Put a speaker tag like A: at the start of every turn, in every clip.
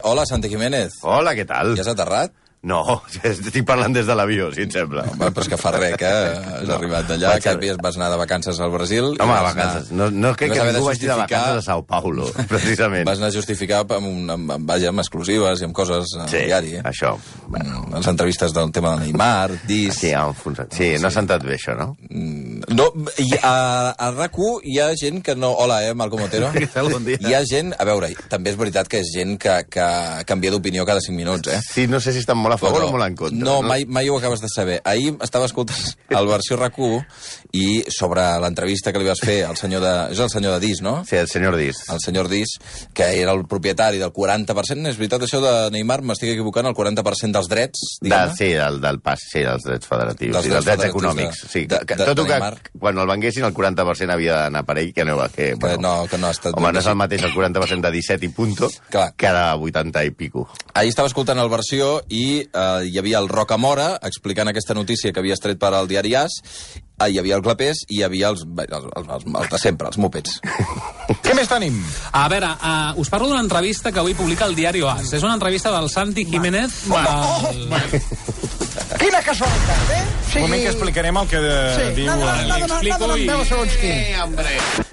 A: Hola, Santi Jiménez.
B: Hola, què tal?
A: Ja has aterrat?
B: No, estic parlant des de l'avió, si et sembla.
A: Home, però és que fa res que has arribat d'allà,
B: vaig
A: que
B: a-
A: havies- vas anar de vacances al Brasil... i
B: Home,
A: vas
B: vacances.
A: anar-
B: No, no crec
A: vas
B: que
A: haver de
B: ningú vagi de
A: justificar-
B: vacances a Sao Paulo, precisament.
A: Vas anar a justificar amb, un, amb, amb, vaja, amb exclusives i amb coses eh,
B: Sí,
A: al diari. Eh?
B: això.
A: Bueno, les entrevistes del tema de Neymar, Dis...
B: Sí, ha enfonsat.
A: Ah,
B: Sí, no ha sentat bé, això, no?
A: No, i a, a RAC1 hi ha gent que no... Hola, eh, Malcom Otero.
B: Què tal? Bon dia.
A: Hi ha gent... A veure, també és veritat que és gent que, que canvia d'opinió cada 5 minuts, eh?
B: Sí, no sé si estan molt a favor o molt en contra.
A: No, mai, mai ho acabes de saber. Ahir estava escoltant el versió rac i sobre l'entrevista que li vas fer al senyor de... És el senyor de Dis, no?
B: Sí, el senyor Dis.
A: El senyor Dis, que era el propietari del 40%, és veritat això de Neymar, m'estic equivocant, el 40% dels drets,
B: De,
A: diguem-ne?
B: sí, del, del pas, sí, dels drets federatius,
A: Dels
B: dels, sí,
A: drets
B: dels
A: federatius
B: drets econòmics.
A: de-
B: sí,
A: de-
B: que,
A: de-
B: tot
A: de
B: i que
A: Neymar.
B: quan el venguessin el 40% havia d'anar per ell, que no va que...
A: Que no, que no ha estat...
B: Home, no és el mateix el 40% de 17 i punto
A: Clar.
B: que ara 80 i pico.
A: Ahir estava escoltant el versió i eh, hi havia el Rocamora explicant aquesta notícia que havies tret per al diari As, eh, hi havia el Clapés i hi havia els, bé, els, els, els, els de sempre, els mopets.
C: Què més tenim?
D: A veure, uh, us parlo d'una entrevista que avui publica el diari Oas. És una entrevista del Santi Jiménez. del-
E: Quina casualitat, eh? Sí.
C: Un moment que explicarem el que eh,
E: Sí,
C: diu...
E: no, no,
C: eh,
E: no, no,
D: l'explico
E: no, no,
D: i-
E: no, segons qui.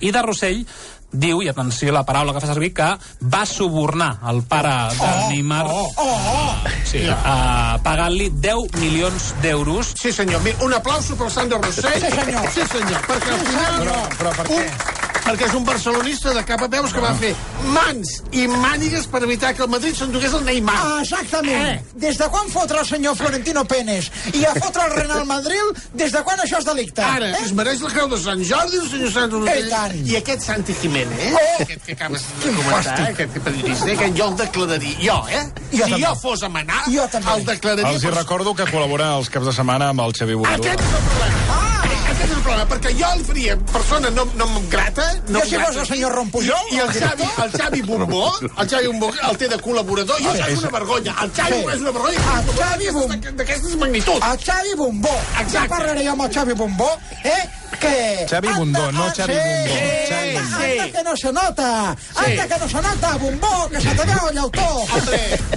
D: I de Rossell diu, i atenció a la paraula que fa servir, que va subornar el pare de Neymar oh, oh, oh. Sí, uh, pagant-li 10 milions d'euros
F: Sí, senyor. Mira, un aplauso pel Sandro Rossell.
E: Sí, senyor.
F: Sí, senyor. Perquè al final...
C: Però, però per què?
F: Un, perquè és un barcelonista de cap a peus
E: Ah.
F: que va fer mans i mànigues per evitar que el Madrid s'endugués el Neymar.
E: Ah, Exactament. Des de quan fotre el senyor Florentino Penes i a fotre el Renal Madril, des de quan això és delicte?
F: Ara, eh? es mereix la creu de Sant Jordi, el senyor Sandro Rossell.
E: I tant.
F: I aquest Santi Jiménez, eh? Oh. aquest que acabes de comentar, aquest que periodista, que jo el declararia. Jo, eh?
E: Jo
F: si
E: també.
F: jo fos a manar,
E: Jo també.
F: el declararia.
C: Els hi
F: per-
C: recordo que col·labora els caps de setmana amb el Xavi Bordó.
F: Aquest és el problema. Ah! Aquest és el problema, perquè jo el faria persona no, no em grata... No
E: Jo,
F: em
E: si
F: grata.
E: fos el senyor Rompullol,
F: I, i el, Xavi, el Xavi Bombó, el Xavi Bombó el té de col·laborador, i això és una vergonya. El
E: Sí.
F: Xavi
E: Ah,
F: és una vergonya.
E: El Ah, Xavi
F: D'aquestes-
E: Bombó.
F: D'aquestes magnituds.
E: El Xavi Bombó.
F: Exacte.
E: Ja parlaré jo amb el Xavi Bombó, eh? Que...
C: Xavi
E: Anda,
C: Bundó, no
E: ah,
C: Xavi
E: sí,
C: Bombó.
E: sí,
C: Xavi
E: anda,
F: Bombó.
E: anda, que no se nota. Anda,
F: Sí.
E: que no se nota, Bombó, que se te veu el llautó.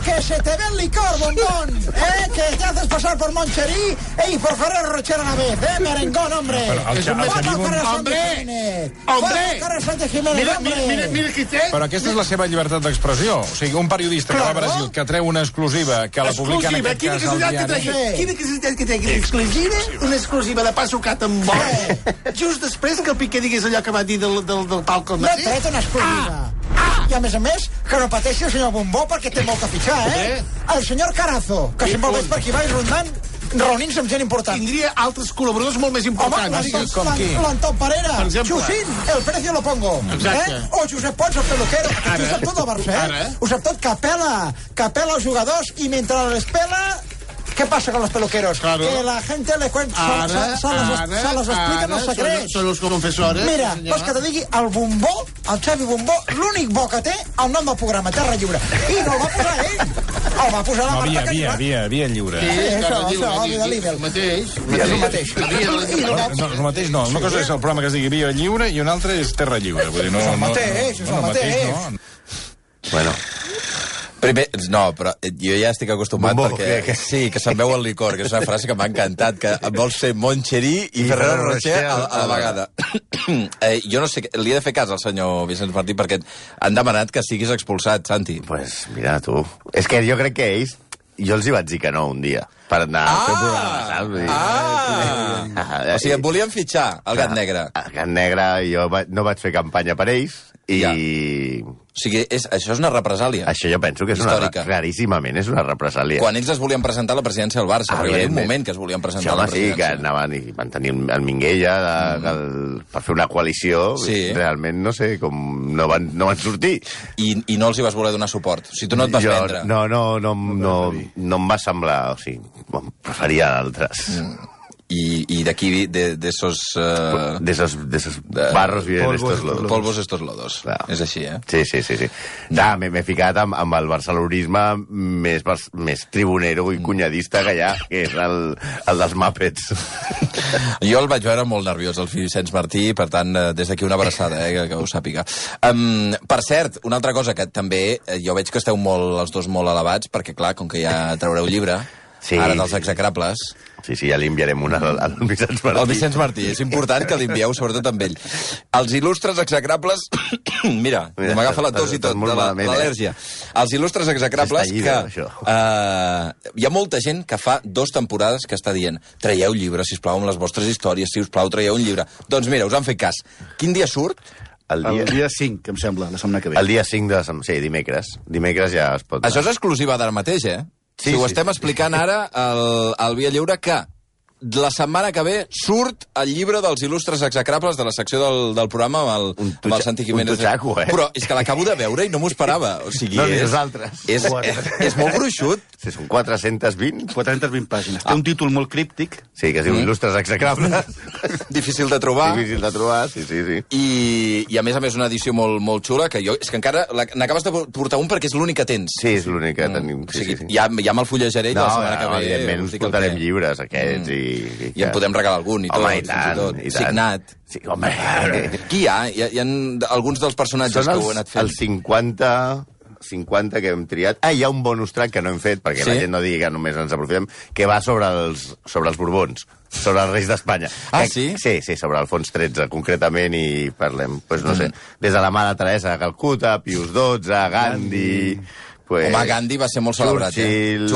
E: Que se te ve el licor, Bombón. Eh? Que te haces pasar por Moncherí eh, y por Ferrer Rocher a la vez. Eh, merengón, hombre.
C: Però el Xa- el
E: Fuera
C: Xavi
E: Ferrer Sánchez
F: Hombre.
E: Jiménez.
F: Hombre.
E: Fuera Ferrer Sánchez Jiménez,
F: Mira,
E: hombre.
F: mira, mira, mira qui té.
C: Però aquesta és la seva llibertat d'expressió. O sigui, un periodista que va a
E: Claro.
C: Brasil, que treu una exclusiva, que la publica en
F: Exclusiva,
C: aquest
F: quina
C: cas al
F: casualitat que
C: diari...
F: traia. Quina casualitat que traia. Exclusiva, una exclusiva de pa sucat amb bol. Just després que el Piqué digués allò que va dir del, del, del palco al
E: M'he
F: Madrid.
E: tret una exclusiva. Ah, ah. I a més a més, que no pateixi el senyor Bombó perquè té molt que fitxar, eh? El senyor Carazo, que sempre el veig per aquí baix rondant, reunint-se amb gent important.
F: Tindria altres col·laboradors molt més
E: Home,
F: importants.
E: l'Anton-
C: com qui?
E: l'Anton Parera,
F: Per exemple.
E: Xusín, el precio lo pongo.
F: Exacte.
E: Eh? O Josep Pons, el peluquero, que
F: Ara.
E: ho sap tot el Barça, eh?
F: Ara.
E: Ho sap tot, que pela, que pela els jugadors i mentre les pela ¿Qué pasa con los peluqueros?
F: Claro.
E: Que la gente le cuenta,
F: Ara,
E: se, se, se, les,
F: ara,
E: se les expliquen
F: ara,
E: els secrets.
F: Són, són els confessores.
E: Mira,
F: senyor.
E: vols que te digui el bombó, el Xavi Bombó, l'únic bo que té el nom del programa, Terra Lliure. I no el va posar ell, el va posar la
C: No,
E: Marta
C: via, via,
E: Cañuelas.
C: via, via lliure.
E: Sí,
F: és
E: això,
F: que diu,
E: això,
F: eh,
E: home, de Lidl.
F: El mateix.
E: és el mateix.
F: La via de la llibertat.
C: No, no, el mateix no. Una cosa és el programa que es digui Via Lliure i una altra és Terra Lliure. Vull dir, no,
E: És el
C: no,
E: mateix, és el
C: bueno,
E: mateix.
C: no.
B: Bueno,
A: Primer, no, però eh, jo ja estic acostumat
B: Bombó,
A: perquè...
B: que- que-
A: Sí, que se'n veu el licor, que és una frase que m'ha encantat, que vols ser Montxerí i, Ferrero Rocher a, a la vegada. eh, jo no sé, què- li he de fer cas al senyor Vicenç Martí perquè han demanat que siguis expulsat, Santi.
B: pues mira, tu. És que jo crec que ells... Jo els hi vaig dir que no un dia, per anar ah, a fer un programa, saps? Vull dir- eh,
A: Ah! O sigui, et volien fitxar, el gat negre.
B: A Can Negre eh, jo va, no vaig fer campanya per ells i
A: Ja.
B: ja.
A: O sigui, és, això és una represàlia.
B: això jo penso que és una,
A: Històrica.
B: claríssimament és una represàlia.
A: Quan ells es volien presentar a la presidència del Barça, perquè hi havia un
B: Evidentment.
A: moment que es volien
B: Sí,
A: presentar a
B: home,
A: la
B: sí, que
A: presidència.
B: anaven i van tenir el Minguella de, el, per fer una coalició.
A: Mm. Sí.
B: Realment, no sé, com no van, no van sortir.
A: I, I no els hi vas voler donar suport. O sigui, tu no et vas
B: jo,
A: vendre.
B: No, no, no, no, no, no em va semblar... O sigui, em preferia d'altres. Mm.
A: y, y de aquí, de, de esos... eh,
B: De esos, de eh, esos barros vienen
A: polvos,
B: estos lodos.
A: Polvos estos lodos.
B: Clar.
A: És així, eh?
B: Sí, sí, sí. sí. Da, m'he m'he ficat amb, amb el barcelonisme més, bar- més tribunero i cunyadista que hi ha, que és el, el dels Muppets.
A: Jo el vaig veure molt nerviós, el Vicenç Martí, per tant, eh, des d'aquí una abraçada, eh, que, que ho sàpiga. Um, per cert, una altra cosa que també, eh, jo veig que esteu molt, els dos molt elevats, perquè clar, com que ja traureu llibre, sí.
B: Sí.
A: ara dels execrables,
B: Sí, sí, ja li enviarem una al, al Vicenç Martí.
A: el Vicenç Martí, és important que l'envieu sobretot amb ell. Els il·lustres execrables... Mira,
B: Mira,
A: Mira m'agafa la
B: estàs-
A: tos i
B: estàs
A: tot,
B: molt
A: de la-
B: malament, eh?
A: l'al·lèrgia. Els il·lustres execrables
B: S'està llibre,
A: que... Uh, hi ha molta gent que fa dos temporades que està dient traieu llibres, sisplau, amb les vostres històries, si us plau, traieu un llibre. Doncs mira, us han fet cas. Quin dia surt?
B: El
G: El
B: dia,
G: dia 5, em sembla, la setmana que ve.
B: el dia 5 de... sem- Sí, dimecres. Dimecres ja es pot...
A: Això és exclusiva d'ara mateix, eh?
B: Sí,
A: si ho
B: sí,
A: estem
B: sí.
A: explicant ara al, al Via Lliure, que la setmana que ve surt el llibre dels il·lustres execrables de la secció del, del programa amb el,
B: Un
A: amb el
B: tutxa-
A: Santi Jiménez.
B: un tutxaco, eh?
A: Però és que l'acabo de veure i no m'ho esperava. O sigui,
B: No, ni
A: és,
B: nosaltres.
A: És, és, és molt gruixut.
B: Sí, són 420.
G: 420 pàgines. Té un títol molt críptic.
B: Sí, que es diu Il·lustres execrables.
A: Difícil de trobar.
B: Mm. Difícil de trobar, sí, sí, sí.
A: I, I, a més a més, una edició molt, molt xula, que jo... És que encara la- n'acabes de portar un perquè és l'únic que tens.
B: Sí, és l'únic que tenim.
A: O
B: Sí,
A: sigui,
B: sí, sí.
A: ja, ja me'l fullejaré i tota la
B: No,
A: setmana que
B: no,
A: ve...
B: evidentment
A: us
B: ens
A: dic el
B: portarem
A: que-
B: llibres aquests i... I,
A: I en podem regalar algun i tot.
B: Home, i
A: fins
B: tant,
A: tot.
B: i tant.
A: Signat.
B: Sí, home, eh,
A: Qui hi ha? Hi ha, hi ha alguns dels personatges
B: són
A: que
B: els,
A: ho han anat fent.
B: els 50 50 que hem triat. Ah, hi ha un bonus track que no hem fet, perquè sí? la
A: Sí?
B: gent no digui que només ens aprofitem, que va sobre els, sobre els Borbons, sobre els reis d'Espanya.
A: Ah,
B: Que-
A: sí?
B: Sí, sí, sobre Alfons XIII, concretament, i parlem, doncs, no sé,
A: Mm.
B: des de la mare Teresa de Calcuta, Pius XII, Gandhi... Pues,
A: Home, Gandhi va ser molt celebrat, eh?
B: Churchill,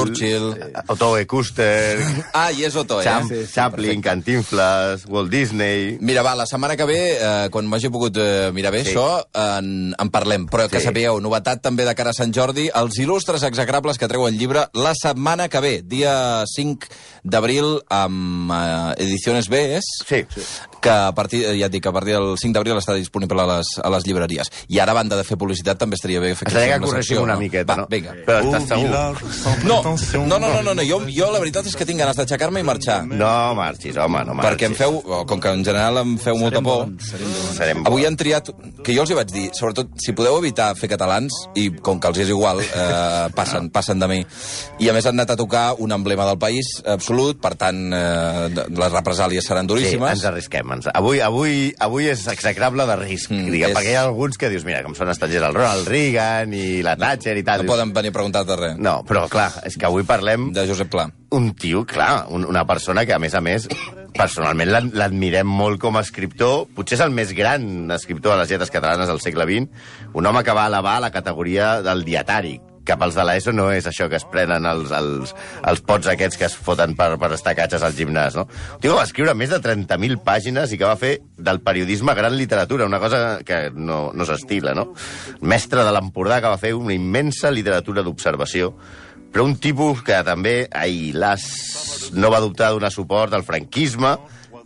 A: Churchill.
B: eh, Otto E. Custer,
A: Ah, i és Otoe.
B: Cham,
A: Eh?
B: Chaplin, Cantinflas, Walt Disney...
A: Mira, va, la setmana que ve, eh, quan m'hagi pogut eh, mirar bé
B: Sí.
A: sí. això, en, en parlem. Però que
B: Sí.
A: sapigueu, novetat també de cara a Sant Jordi, els il·lustres execrables que treuen llibre la setmana que ve, dia 5 d'abril, amb eh, Ediciones B, és?
B: Sí, sí.
A: que a partir, eh, ja et dic, a partir del 5 d'abril està disponible a les, a les llibreries. I ara, a banda de fer publicitat, també estaria bé fer
B: Estaria que
A: una
B: correixim
A: secció,
B: una miqueta,
A: Va,
B: no?
A: vinga.
B: Però estàs segur?
A: No, no, no, no, no, no. Jo, jo la veritat és que tinc ganes d'aixecar-me i marxar.
B: No marxis, home, no marxis.
A: Perquè em feu, o com que en general em feu molta por,
B: Serem
A: avui han triat, que jo els hi vaig dir, sobretot, si podeu evitar fer catalans, i com que els és igual, eh, passen, passen de mi. I a més han anat a tocar un emblema del país absolut, per tant, eh, de- les represàlies seran
B: Sí, ens
A: duríssimes.
B: arrisquem. Ens... Avui, avui, avui és execrable de risc, mm,
A: Mm,
B: diguem,
A: és-
B: perquè hi ha alguns que dius, mira, com són estrangers, el Ronald Reagan i la Thatcher i tal.
A: No
B: dius,
A: poden venir a preguntar-te res.
B: No, però clar, és que avui parlem
A: De Josep Pla.
B: un tio, clar, un, una persona que, a més a més, personalment l'ad- l'admirem molt com a escriptor, potser és el més gran escriptor de les lletres catalanes del segle XX, un home que va elevar la categoria del dietari, que pels de l'ESO no és això que es prenen els, els, els pots aquests que es foten per, per estar catxes al gimnàs, no? Un tio que va escriure més de 30.000 pàgines i que va fer del periodisme gran literatura, una cosa que no, no s'estila, no? Mestre de l'Empordà que va fer una immensa literatura d'observació però un tipus que també ai, l'as no va dubtar de donar suport al franquisme,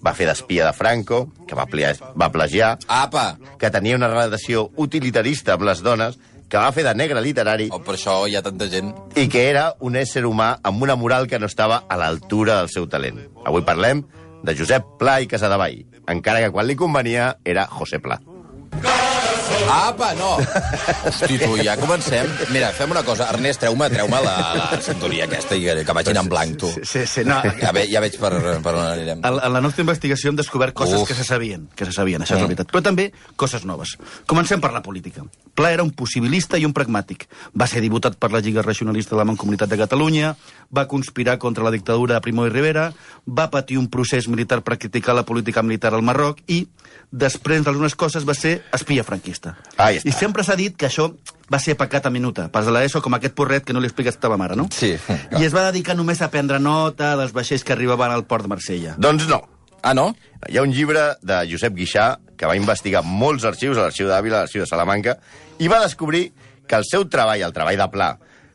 B: va fer d'espia de Franco, que va, plia, va plagiar,
A: Apa!
B: que tenia una relació utilitarista amb les dones, que va fer de negre literari
A: Oh, per això hi ha tanta gent.
B: i que era un ésser humà amb una moral que no estava a l'altura del seu talent. Avui parlem de Josep Pla i Casadevall, encara que quan li convenia era José Pla.
A: Apa, no! Hosti, tu, ja comencem. Mira, fem una cosa. Ernest, treu-me treu la, la cinturia aquesta i que que vagin en blanc, tu. Ah,
G: Sí, sí, no,
A: Ja, ve, ja veig per, per on anirem.
G: a, la- a la nostra investigació hem descobert coses
A: Uf.
G: Uf. que se sabien, que se sabien, això és la veritat, però també coses noves. Comencem per la política. Pla era un possibilista i un pragmàtic. Va ser diputat per la Lliga Regionalista de la Mancomunitat de Catalunya, va conspirar contra la dictadura de Primo i Rivera, va patir un procés militar per criticar la política militar al Marroc i, després d'algunes coses, va ser espia franquista.
B: Ahí està.
G: I sempre s'ha dit que això va ser pecat a minuta, pas de l'ESO com aquest porret que no li expliques a teva mare, no?
A: Sí.
G: I es va dedicar només a prendre nota dels vaixells que arribaven al port de Marsella.
B: Doncs no,
A: Ah, no?
B: Hi ha un llibre de Josep Guixà que va investigar molts arxius, a l'arxiu d'Àvila, a l'arxiu de Salamanca, i va descobrir que el seu treball, el treball de Pla,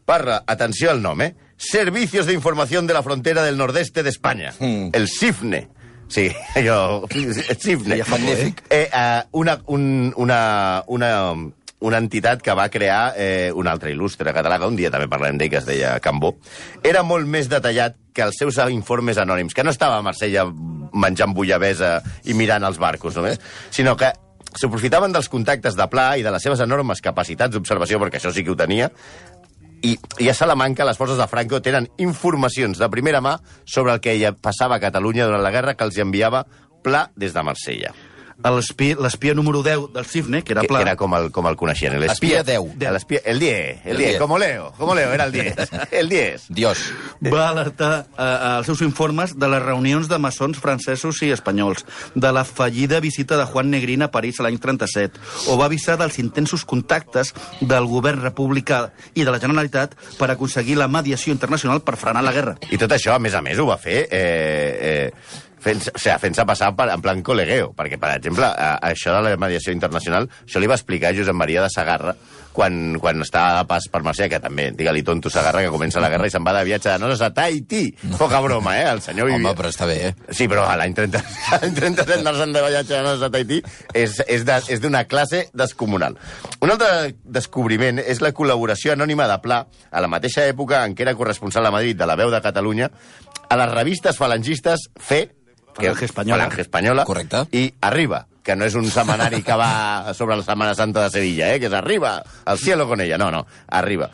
B: per, atenció al nom, eh? Servicios de Información de la Frontera del Nordeste de España,
A: Mm.
B: el SIFNE. Sí, jo... SIFNE.
A: Magnífic.
B: Eh, eh, una, un, una, una, una entitat que va crear eh, un altre il·lustre català, que un dia també parlarem d'ell, que es deia Cambó, era molt més detallat que els seus informes anònims, que no estava a Marsella menjant bullabesa i mirant els barcos només, sinó que s'aprofitaven dels contactes de Pla i de les seves enormes capacitats d'observació, perquè això sí que ho tenia, i, i a Salamanca les forces de Franco tenen informacions de primera mà sobre el que ja passava a Catalunya durant la guerra que els hi enviava Pla des de Marsella.
G: L'espi- L'espia número 10 del Cifne, que era
B: Que,
G: Pla,
B: que era com el, com el coneixien,
A: Espia
B: l'espia.
A: deu.
B: L'espia- El 10, el
A: El
B: 10,
A: diez.
B: com Leo, com Leo, era el 10. El 10.
A: Dios.
G: va alertar eh, als seus informes de les reunions de maçons francesos i espanyols, de la fallida visita de Juan Negrín a París l'any 37, o va avisar dels intensos contactes del govern republicà i de la Generalitat per aconseguir la mediació internacional per frenar la guerra.
B: I tot això, a més a més, ho va fer... Eh, eh, fent, o sigui, fent-se passar per, en plan col·legueo, perquè, per exemple, a, a això de la mediació internacional, això li va explicar Josep Maria de Sagarra quan, quan estava de pas per Marsella, que també, digue-li tonto Sagarra, que comença la guerra i se'n va de viatge de noces a Tahití. Poca broma, eh? El senyor
A: Home,
B: vivia...
A: però està bé, eh?
B: Sí, però a l'any 30, l'any 37 anar-se'n de viatge a noces a Tahití és, és de- és d'una classe descomunal. Un altre descobriment és la col·laboració anònima de Pla, a la mateixa època en què era corresponsal a Madrid de la veu de Catalunya, a les revistes falangistes Fe,
G: Falange Española.
B: Falange Espanyola,
A: Correcte.
B: i Arriba, que no és un setmanari que va sobre la Setmana Santa de Sevilla, eh, que és Arriba, al cielo con ella. No, no, Arriba.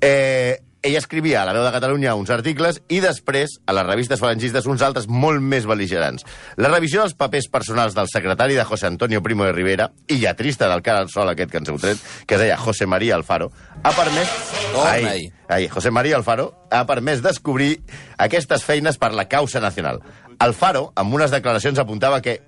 B: Eh, ella escrivia a la veu de Catalunya uns articles i després a les revistes falangistes uns altres molt més bel·ligerants. La revisió dels papers personals del secretari de José Antonio Primo de Rivera i lletrista del cara al sol aquest que ens heu tret, que es deia José María Alfaro, ha permès...
A: Oh,
B: Ai,
A: nei.
B: Ai, José María Alfaro ha permès descobrir aquestes feines per la causa nacional. Alfaro, amb unes declaracions, apuntava que,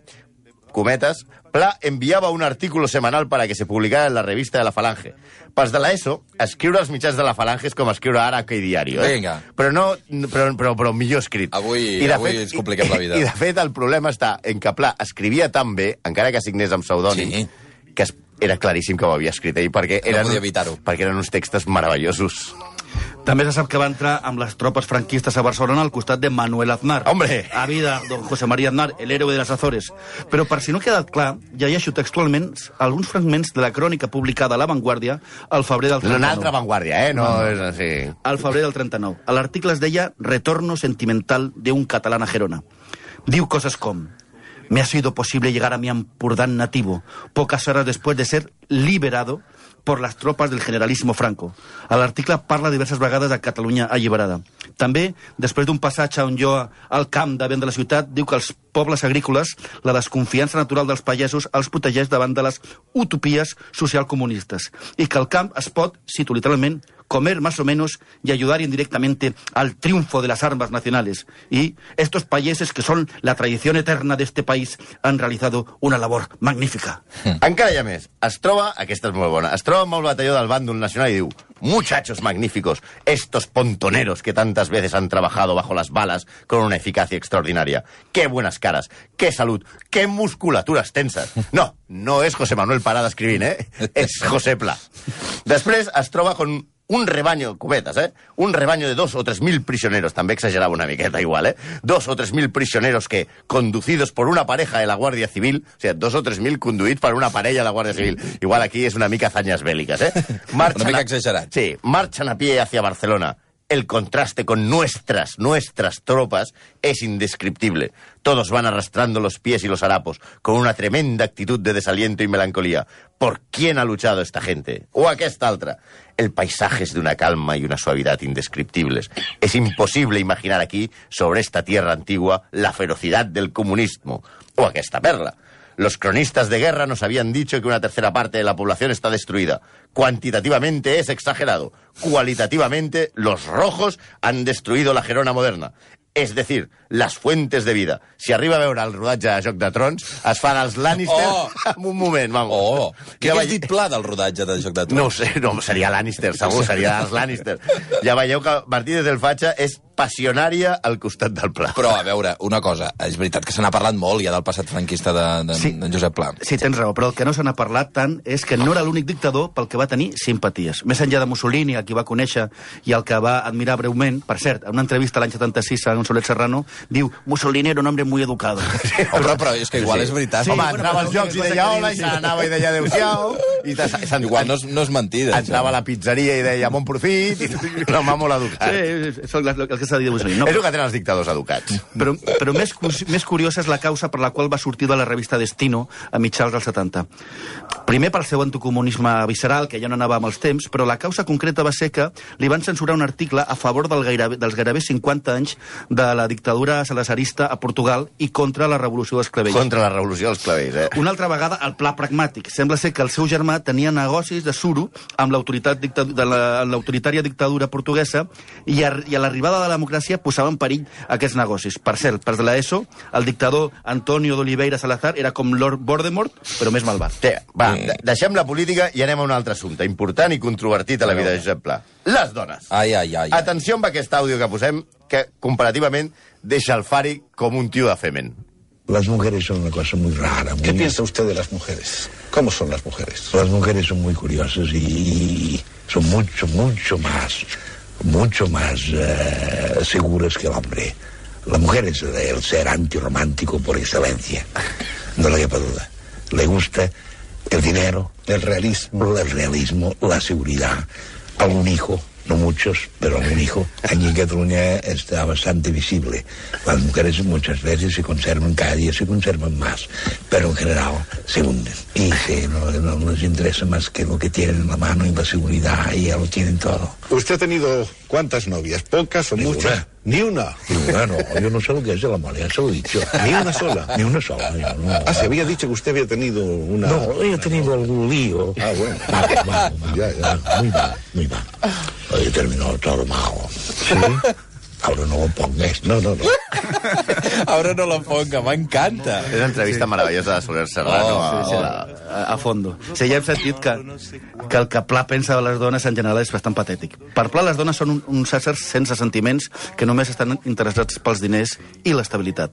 B: cometes, Pla enviava un artículo semanal para que se publicara en la revista de la Falange. Pas de l'ESO, escriure als mitjans de la Falange és com escriure ara aquell diari. Eh?
A: Vinga.
B: Però, no, però, però, però millor escrit.
A: Avui-
B: I de
A: avui ens compliquem la vida.
B: I, de fet, el problema està en que Pla escrivia tan bé, encara que signés amb pseudònim,
A: Sí.
B: que es, era claríssim que ho havia escrit ell, perquè,
A: No
B: eren,
A: podia evitar-ho.
B: perquè eren uns textos meravellosos.
G: També se sap que va entrar amb les tropes franquistes a Barcelona al costat de Manuel Aznar.
B: Hombre!
G: A vida, don José María Aznar, el héroe de les Azores. Però per si no ha quedat clar, ja hi ha textualment alguns fragments de la crònica publicada a La Vanguardia al febrer del 39.
B: Una altra vanguardia, eh? No, és així.
G: al febrer del 39. A l'article es deia Retorno sentimental de un catalán a Gerona. Diu cosas como... Me ha sido posible llegar a mi Ampurdán nativo pocas horas después de ser liberado por las tropas del generalísimo Franco. A l'article parla diverses vegades de Catalunya alliberada. També, després d'un passatge on jo al camp davant de la ciutat, diu que els pobles agrícoles, la desconfiança natural dels pagesos els protegeix davant de les utopies socialcomunistes i que el camp es pot, cito literalment, comer más o menos y ayudar indirectamente al triunfo de las armas nacionales. Y estos payeses, que son la tradición eterna de este país, han realizado una labor magnífica.
B: Encara hi ha més. Es troba, aquesta és molt bona, es troba amb el batalló del bàndol nacional i diu Muchachos magníficos, estos pontoneros que tantas veces han trabajado bajo las balas con una eficacia extraordinaria. Qué buenas caras, qué salud, qué musculaturas tensas. No, no és José Manuel Parada escrivint, eh? És José Pla. Després es troba con un rebaño, cubetas, ¿eh? Un rebaño de dos o tres mil prisioneros, también exageraba una miqueta igual, ¿eh? Dos o tres mil prisioneros que, conducidos por una pareja de la Guardia Civil, o sea, dos o tres mil conduïts per una parella de la Guàrdia Civil, igual aquí és una mica zanyes bèl·liques, eh?
A: Una mica
B: a-
A: exagerat.
B: Sí, marchan a pie hacia Barcelona. El contraste con nuestras, nuestras tropas es indescriptible. Todos van arrastrando los pies y los harapos, con una tremenda actitud de desaliento y melancolía. ¿Por quién ha luchado esta gente? ¿O aquesta otra? El paisaje es de una calma y una suavidad indescriptibles. Es imposible imaginar aquí, sobre esta tierra antigua, la ferocidad del comunismo. ¿O aquesta perla? Los cronistas de guerra nos habían dicho que una tercera parte de la población está destruida. Cuantitativamente es exagerado. Cualitativamente, los rojos han destruido la Gerona moderna. És decir, les fuentes de vida. Si arriba a veure el rodatge de Joc de Trons, es fan els Lannister
A: Oh!
B: en un moment, vamos.
A: Oh, què
B: Ja
A: ja has
B: vaig-
A: dit pla del rodatge de Joc de Trons?
B: no ho sé, no, seria Lannister, segur, seria dels Lannister. Ja veieu que Martínez del Fatxa és passionària al costat del pla.
A: Però, a veure, una cosa, és veritat que se n'ha parlat molt ja del passat franquista d'en de,
G: Sí.
A: sí. Josep Pla.
G: Sí, tens raó, però el que no se n'ha parlat tant és que no era l'únic dictador pel que va tenir simpaties. Més enllà de Mussolini, el que va conèixer i el que va admirar breument, per cert, en una entrevista l'any 76 a González Serrano, diu Mussolini era un hombre muy educado.
A: Oh, Però, però és que igual
B: Sí.
A: és veritat.
B: Sí, Home, entrava
G: però
B: als jocs i deia hola, i se n'anava i deia adéu-siau, i te- se'n-
A: Igual no és, no és mentida,
B: entrava a la pizzeria i deia bon profit, i un home molt educat.
G: Sí, és el, el, el que que s'ha de dir avui, senyor. No,
B: És el que tenen els dictadors educats.
G: però, però més, cu- més curiosa és la causa per la qual va sortir de la revista Destino a mitjans dels 70. Primer pel seu anticomunisme visceral, que ja no anava amb els temps, però la causa concreta va ser que li van censurar un article a favor del gairebé, dels gairebé 50 anys de la dictadura salazarista a Portugal i contra la revolució dels clavells.
B: Contra la revolució dels clavells, eh?
G: Una altra vegada, el pla pragmàtic. Sembla ser que el seu germà tenia negocis de suro amb l'autoritat dicta... de la- l'autoritària dictadura portuguesa i, a, i a l'arribada de la democràcia posava en perill aquests negocis. Per cert, per la ESO, el dictador Antonio d'Oliveira Salazar era com Lord Voldemort, però més malvat.
B: Té, va, de- deixem la política i anem a un altre assumpte important i controvertit a la vida de Josep Pla. Les dones.
G: Ah,
A: Ai, ai, ai. ai.
B: Atenció amb aquest àudio que posem, que comparativament deixa el Fari com un tio de femen.
H: Las mujeres son una cosa muy rara. Muy...
I: ¿Qué piensa usted de las mujeres? ¿Cómo son las mujeres?
H: Las mujeres son muy curiosas y, y son mucho, mucho más, mucho más eh, seguras que el hombre. La mujer es el ser antirromántico por excelencia. No le quepa duda. Le gusta el dinero,
I: El realismo.
H: el realismo, la seguridad, algún hijo, no muchos, pero algún hijo. Aquí en Cataluña está bastante visible. Las mujeres muchas veces se conservan, cada día se conservan más, pero en general se hunden. Y se- no, no les interesa más que lo que tienen en la mano y la seguridad, y ya lo tienen todo.
I: ¿Usted ha tenido cuántas novias? ¿Pocas o
H: Ninguna.
I: muchas? Ni una.
H: Y bueno, yo no sé lo que es el amor, ya se lo he dicho.
I: Ni una sola.
H: Ni una sola. yo no.
I: Ah, se había dicho que usted había tenido una...
H: No, he tenido algún lío.
I: Ah, bueno.
H: Malo, malo, malo.
I: Ya, ya.
H: Ah, Muy mal, muy mal. He terminado todo malo. ¿Sí? Ahora no lo pongas.
I: No, no, no.
A: Ara no la ponga, m'encanta.
B: És una entrevista sí. meravellosa de Soler Serrano.
A: Oh,
B: a-
G: Sí,
B: a la-
G: a, a fondo. Sí, ja hem sentit que, que el que Pla pensa de les dones en general és bastant patètic. Per Pla, les dones són un, uns éssers sense sentiments que només estan interessats pels diners i l'estabilitat.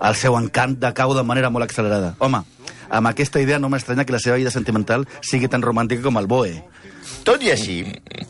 G: El seu encant decau de manera molt accelerada. Home, amb aquesta idea no m'estranya que la seva vida sentimental sigui tan romàntica com el Boe.
B: Tot i així,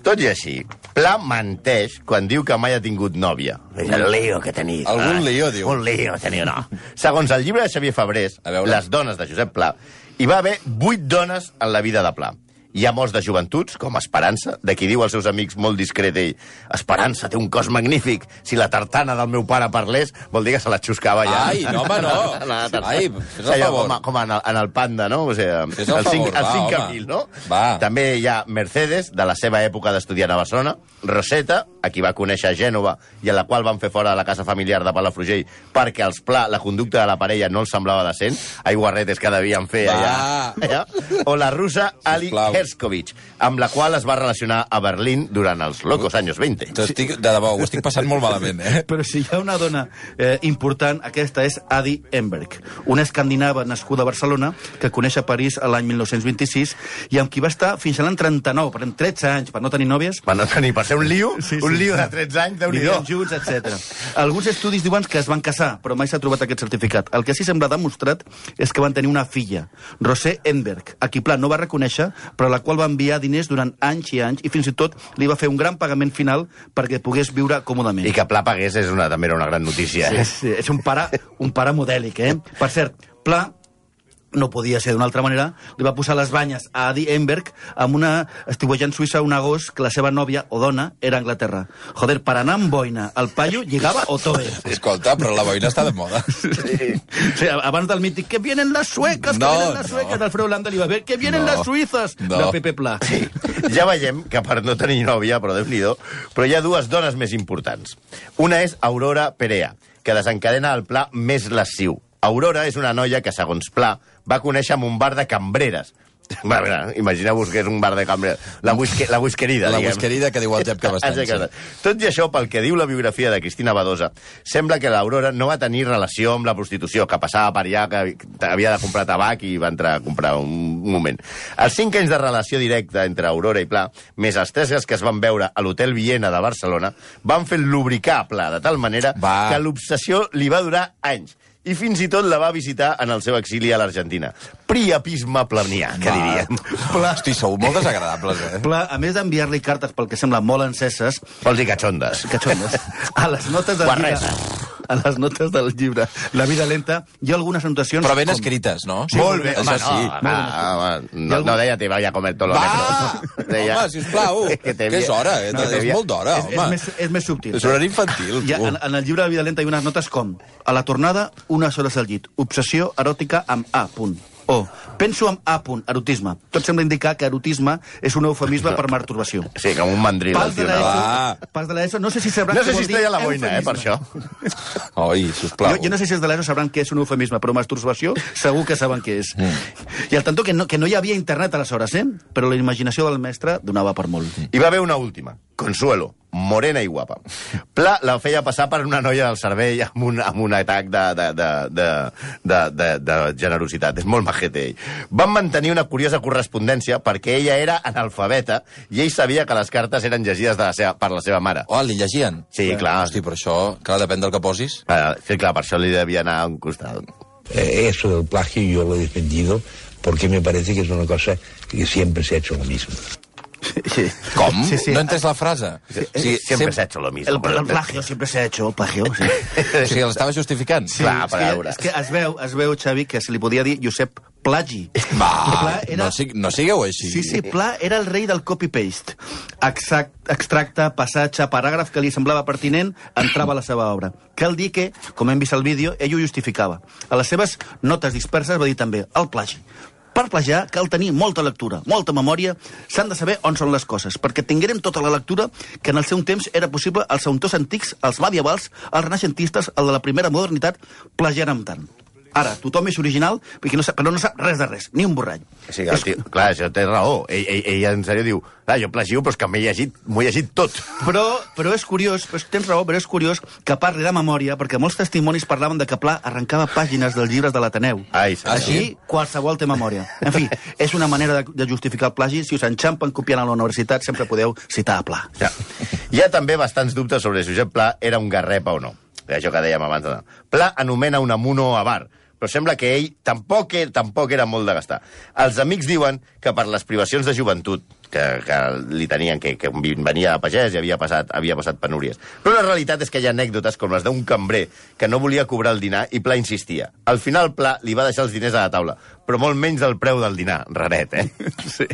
B: tot i així, Pla menteix quan diu que mai ha tingut nòvia. El lío que tenia.
A: Algun Ah, lío, diu.
B: Un lío tenia, no. Segons el llibre de Xavier Fabrés,
A: A veure.
B: Les dones de Josep Pla, hi va haver vuit dones en la vida de Pla. Hi ha molts de joventuts, com Esperança, de qui diu als seus amics molt discret ell Esperança té un cos magnífic. Si la tartana del meu pare parlés, vol dir que se la xuscava ja.
A: Ai, no, home, no.
B: La tartana.
A: Ai, fes el
B: Allò,
A: favor.
B: Com, a, com en, el, en el panda, no? O sigui,
A: Fes el favor,
B: el
A: va,
B: 5
A: home.
B: mil, no?
A: Va.
B: També també hi ha Mercedes, de la seva època d'estudiant a Barcelona, Rosetta, a qui va conèixer a Gènova i a la qual van fer fora de la casa familiar de Palafrugell perquè els pla, la conducta de la parella no els semblava decent, ai guarretes que devien fer
A: Va.
B: allà, allà, o la russa Ali
A: Sisplau.
B: Herskovich, amb la qual es va relacionar a Berlín durant els locos anys 20.
A: T'ho Estic, de debò, ho estic passant molt malament, eh?
G: Però si hi ha una dona eh, important, aquesta és Adi Enberg, una escandinava nascuda a Barcelona que coneix a París a l'any 1926 i amb qui va estar fins a l'any 39, per tant, 13 anys, per no tenir nòvies,
B: Va no tenir per ser un lío,
G: Sí,
B: sí,
G: sí.
B: sí. un lío de 13 anys, déu nhi
G: vivien junts, etc. Alguns estudis diuen que es van casar, però mai s'ha trobat aquest certificat. El que sí sembla demostrat és que van tenir una filla, Rosé Enberg, a qui Pla no va reconèixer, però a la qual va enviar diners durant anys i anys, i fins i tot li va fer un gran pagament final perquè pogués viure còmodament.
B: I que Pla pagués és una, també era una gran notícia. eh?
G: Sí,
B: Sí.
G: és, és un pare, un pare modèlic, eh? Per cert, Pla no podia ser d'una altra manera, li va posar les banyes a Adi Enberg amb una estiuejant suïssa un agost que la seva nòvia o dona era a Anglaterra. Joder, per anar amb boina, el paio lligava o toe.
A: Escolta, però la boina està de moda.
G: Sí, abans del mític, que vienen las suecas,
A: No,
G: que vienen las
A: no.
G: suecas, d'Alfredo Landa li va ver, que vienen
A: No.
G: las suïsses,
A: No.
G: de Pepe Pla.
B: Sí, ja veiem que per no tenir nòvia, però déu nhi però hi ha dues dones més importants. Una és Aurora Perea, que desencadena el pla més lasciu. Aurora és una noia que, segons Pla, va conèixer en un bar de cambreres. Va, mira, Imagineu-vos que és un bar de cambreres. La, whisky, la whiskerida,
A: La
B: diguem.
A: whiskerida que diu el Jep Cabestany,
B: Ah, Jep
A: sí.
B: Cabestany. Tot i això, pel que diu la biografia de Cristina Badosa, sembla que l'Aurora no va tenir relació amb la prostitució, que passava per allà, que havia de comprar tabac i va entrar a comprar un moment. Els cinc anys de relació directa entre Aurora i Pla, més els tres que es van veure a l'Hotel Viena de Barcelona, van fer lubricar a Pla de tal manera
A: Va.
B: que l'obsessió li va durar anys i fins i tot la va visitar en el seu exili a l'Argentina. Priapisme planià, que
A: Va.
B: diríem.
A: Hosti, sou molt desagradables, eh?
G: Pla, a més d'enviar-li cartes pel que sembla molt enceses,
B: Vols dir catxondes?
G: cachondos. A les notes del llibre...
B: Guarrers.
G: a les notes del llibre La vida lenta, hi ha algunes anotacions...
A: Però ben
G: com-
A: escrites, no?
G: Sí, Molt bé,
A: Això
G: home,
A: sí.
B: No, ah, home, no, no deia te vaya a comer todo lo
A: Va!
B: negro.
A: Home, sisplau, que és hora, eh? És
B: havia-
A: molt d'hora,
G: és, és,
A: home.
G: més, és més subtil.
A: És un horari infantil,
G: Hi ha,
A: tu.
G: en, en el llibre de la vida lenta hi ha unes notes com A la tornada, unes hores al llit. Obsessió eròtica amb A, punt. O penso amb A, punt, erotisme. Tot sembla indicar que erotisme és un eufemisme per masturbació.
B: Sí, com un mandril.
G: Pas
B: el
G: de
B: tio, no? Ah.
A: Va.
G: l'ESO, pas de l'ESO, no sé si sabran
B: No sé si
G: què vol
B: es
G: dir
B: treia la boina, eh, per
G: eufemisme.
B: això.
A: Oi, sisplau.
G: Jo, jo no sé si els de l'ESO sabran què és un eufemisme, però masturbació segur que saben què és.
A: Mm.
G: I al tanto que no, que no hi havia internet aleshores, eh? però la imaginació del mestre donava per molt.
B: I va haver una última. Consuelo, morena i guapa. Pla la feia passar per una noia del cervell amb un, amb un atac de, de, de, de, de, de, de generositat. És molt majete, ell. Van mantenir una curiosa correspondència perquè ella era analfabeta i ell sabia que les cartes eren llegides de la seva, per la seva mare.
A: Oh, li llegien?
B: Sí, clar.
A: Hosti, però això, clar, depèn del que posis.
B: Eh, sí, clar, per això li devia anar a un costat.
H: Eh, Eso del plagio yo lo he defendido porque me parece que es una cosa que siempre se ha hecho lo mismo.
G: Sí.
A: Mm. Com?
G: Sí, sí.
A: No he entès la frase.
B: Sí, sempre
A: sem-
B: s'ha hecho lo mismo.
G: El, el plagio sempre s'ha hecho, el plagio. Sí.
A: O sigui, l'estava justificant.
B: Sí. Clar,
G: és,
B: per
G: que,
B: veure.
G: és que es veu, es veu, Xavi, que se li podia dir Josep Plagi.
A: Va,
G: Pla
A: no, sig no sigueu així.
G: Sí,
B: eh,
G: sí, Pla era el rei del copy-paste. Exact, extracte, passatge, paràgraf que li semblava pertinent, entrava a la seva obra. Cal dir que, com hem vist al vídeo, ell ho justificava. A les seves notes disperses va dir també el plagi. Per plagiar cal tenir molta lectura, molta memòria, s'han de saber on són les coses, perquè tinguérem tota la lectura que en el seu temps era possible als autors antics, als medievals, als renaixentistes, el de la primera modernitat, plagiàrem tant. Ara, tothom és original, perquè no sap, però no sap res de res, ni un borrall.
B: Sí, eh, el tio, clar, això té raó. Ell, ell, ell en sèrio diu, clar, jo plagio, però és que m'he llegit, m'ho he llegit tot.
G: Però, però és curiós, però tens raó, però és curiós que parli de memòria, perquè molts testimonis parlaven de que Pla arrencava pàgines dels llibres de l'Ateneu.
B: Ai, senyor.
G: Així, qualsevol té memòria. En fi, és una manera de, de justificar el plagi. Si us enxampen copiant a la universitat, sempre podeu citar a Pla.
B: Ja. Hi ha també bastants dubtes sobre si Josep Pla era un garrepa o no. Això que dèiem abans. De... Pla anomena un amuno a bar, però sembla que ell tampoc, e- tampoc era molt de gastar. Els amics diuen que per les privacions de joventut que, que li tenien, que, que venia de pagès i havia passat, havia passat penúries. Però la realitat és que hi ha anècdotes com les d'un cambrer que no volia cobrar el dinar i Pla insistia. Al final Pla li va deixar els diners a la taula, però molt menys del preu del dinar. Raret, eh?
G: Sí.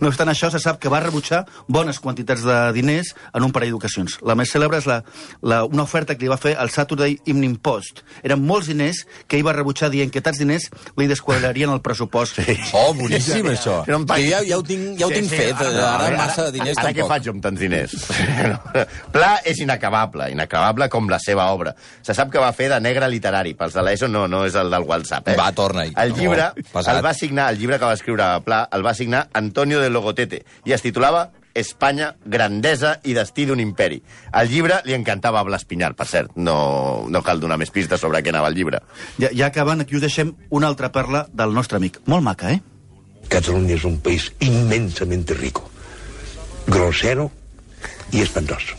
G: No obstant això, se sap que va rebutjar bones quantitats de diners en un parell d'ocasions. La més cèlebre és la, la, una oferta que li va fer el Saturday Evening Post. Eren molts diners que ell va rebutjar dient que tants diners li desquadrarien el pressupost. Sí.
A: Oh, boníssim, això.
B: Que no em
A: Que
B: paguin.
A: ja, ja ho tinc, ja ho tinc fet.
B: no,
A: Ara,
B: veure,
A: massa de diners
B: ara
A: tampoc.
B: què faig jo amb tants diners? Pla és inacabable, inacabable com la seva obra. Se sap que va fer de negre literari, pels de l'ESO no, no és el del WhatsApp. Eh?
A: Va, torna-hi.
B: El llibre,
A: No, pesat.
B: el va signar, el llibre que va escriure Pla, el va signar Antonio de Logotete, i es titulava Espanya, grandesa i destí d'un imperi. El llibre li encantava a Blas Pinyar, per cert. No, no cal donar més pistes sobre què anava el llibre.
G: Ja, ja acabant, aquí us deixem una altra perla del nostre amic. Molt maca, eh?
H: Cataluña es un país inmensamente rico, grosero y espantoso.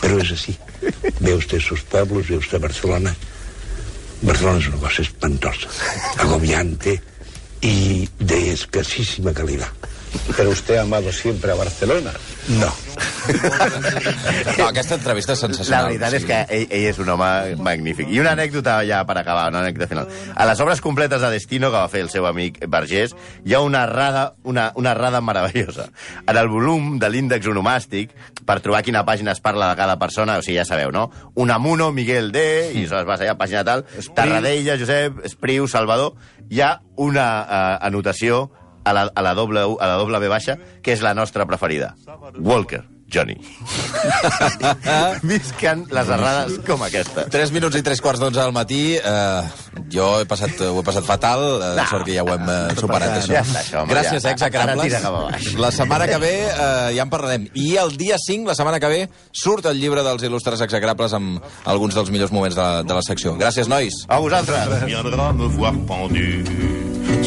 H: Pero es así. Ve usted sus pueblos, ve usted Barcelona. Barcelona es una cosa espantosa, agobiante y de escasísima calidad.
I: Pero usted ha amado siempre a Barcelona.
H: No.
A: No, aquesta entrevista és
B: La
A: sensacional.
B: veritat
A: o
B: és
A: sigui.
B: que ell, ell és un home magnífic. I una anècdota ja per acabar, una anècdota final. A les obres completes de Destino, que va fer el seu amic Vergés, hi ha una errada, una, una errada meravellosa. En el volum de l'índex onomàstic, per trobar quina pàgina es parla de cada persona, o sigui, ja sabeu, no? Unamuno, Miguel D, i això es va allà, pàgina tal, Tarradella, Josep, Espriu, Salvador... Hi ha una eh, anotació a la, a, la doble, U- a la doble B baixa, que és la nostra preferida. Walker, Johnny. Visquen les errades com aquesta.
A: 3 minuts i 3 quarts d'11 del matí. Eh, jo he passat, ho he passat fatal. Eh,
B: No,
A: sort que ja ho hem eh,
B: no,
A: superat,
B: no,
A: això.
B: ja està, això, home,
A: Gràcies,
B: ja.
A: Exa
B: Ara
A: Carables.
B: tira cap a baix.
A: La setmana que ve eh, ja en parlarem. I el dia 5, la setmana que ve, surt el llibre dels il·lustres execrables amb alguns dels millors moments de, de la secció. Gràcies, nois.
B: A vosaltres.
J: viendra me voir pendu,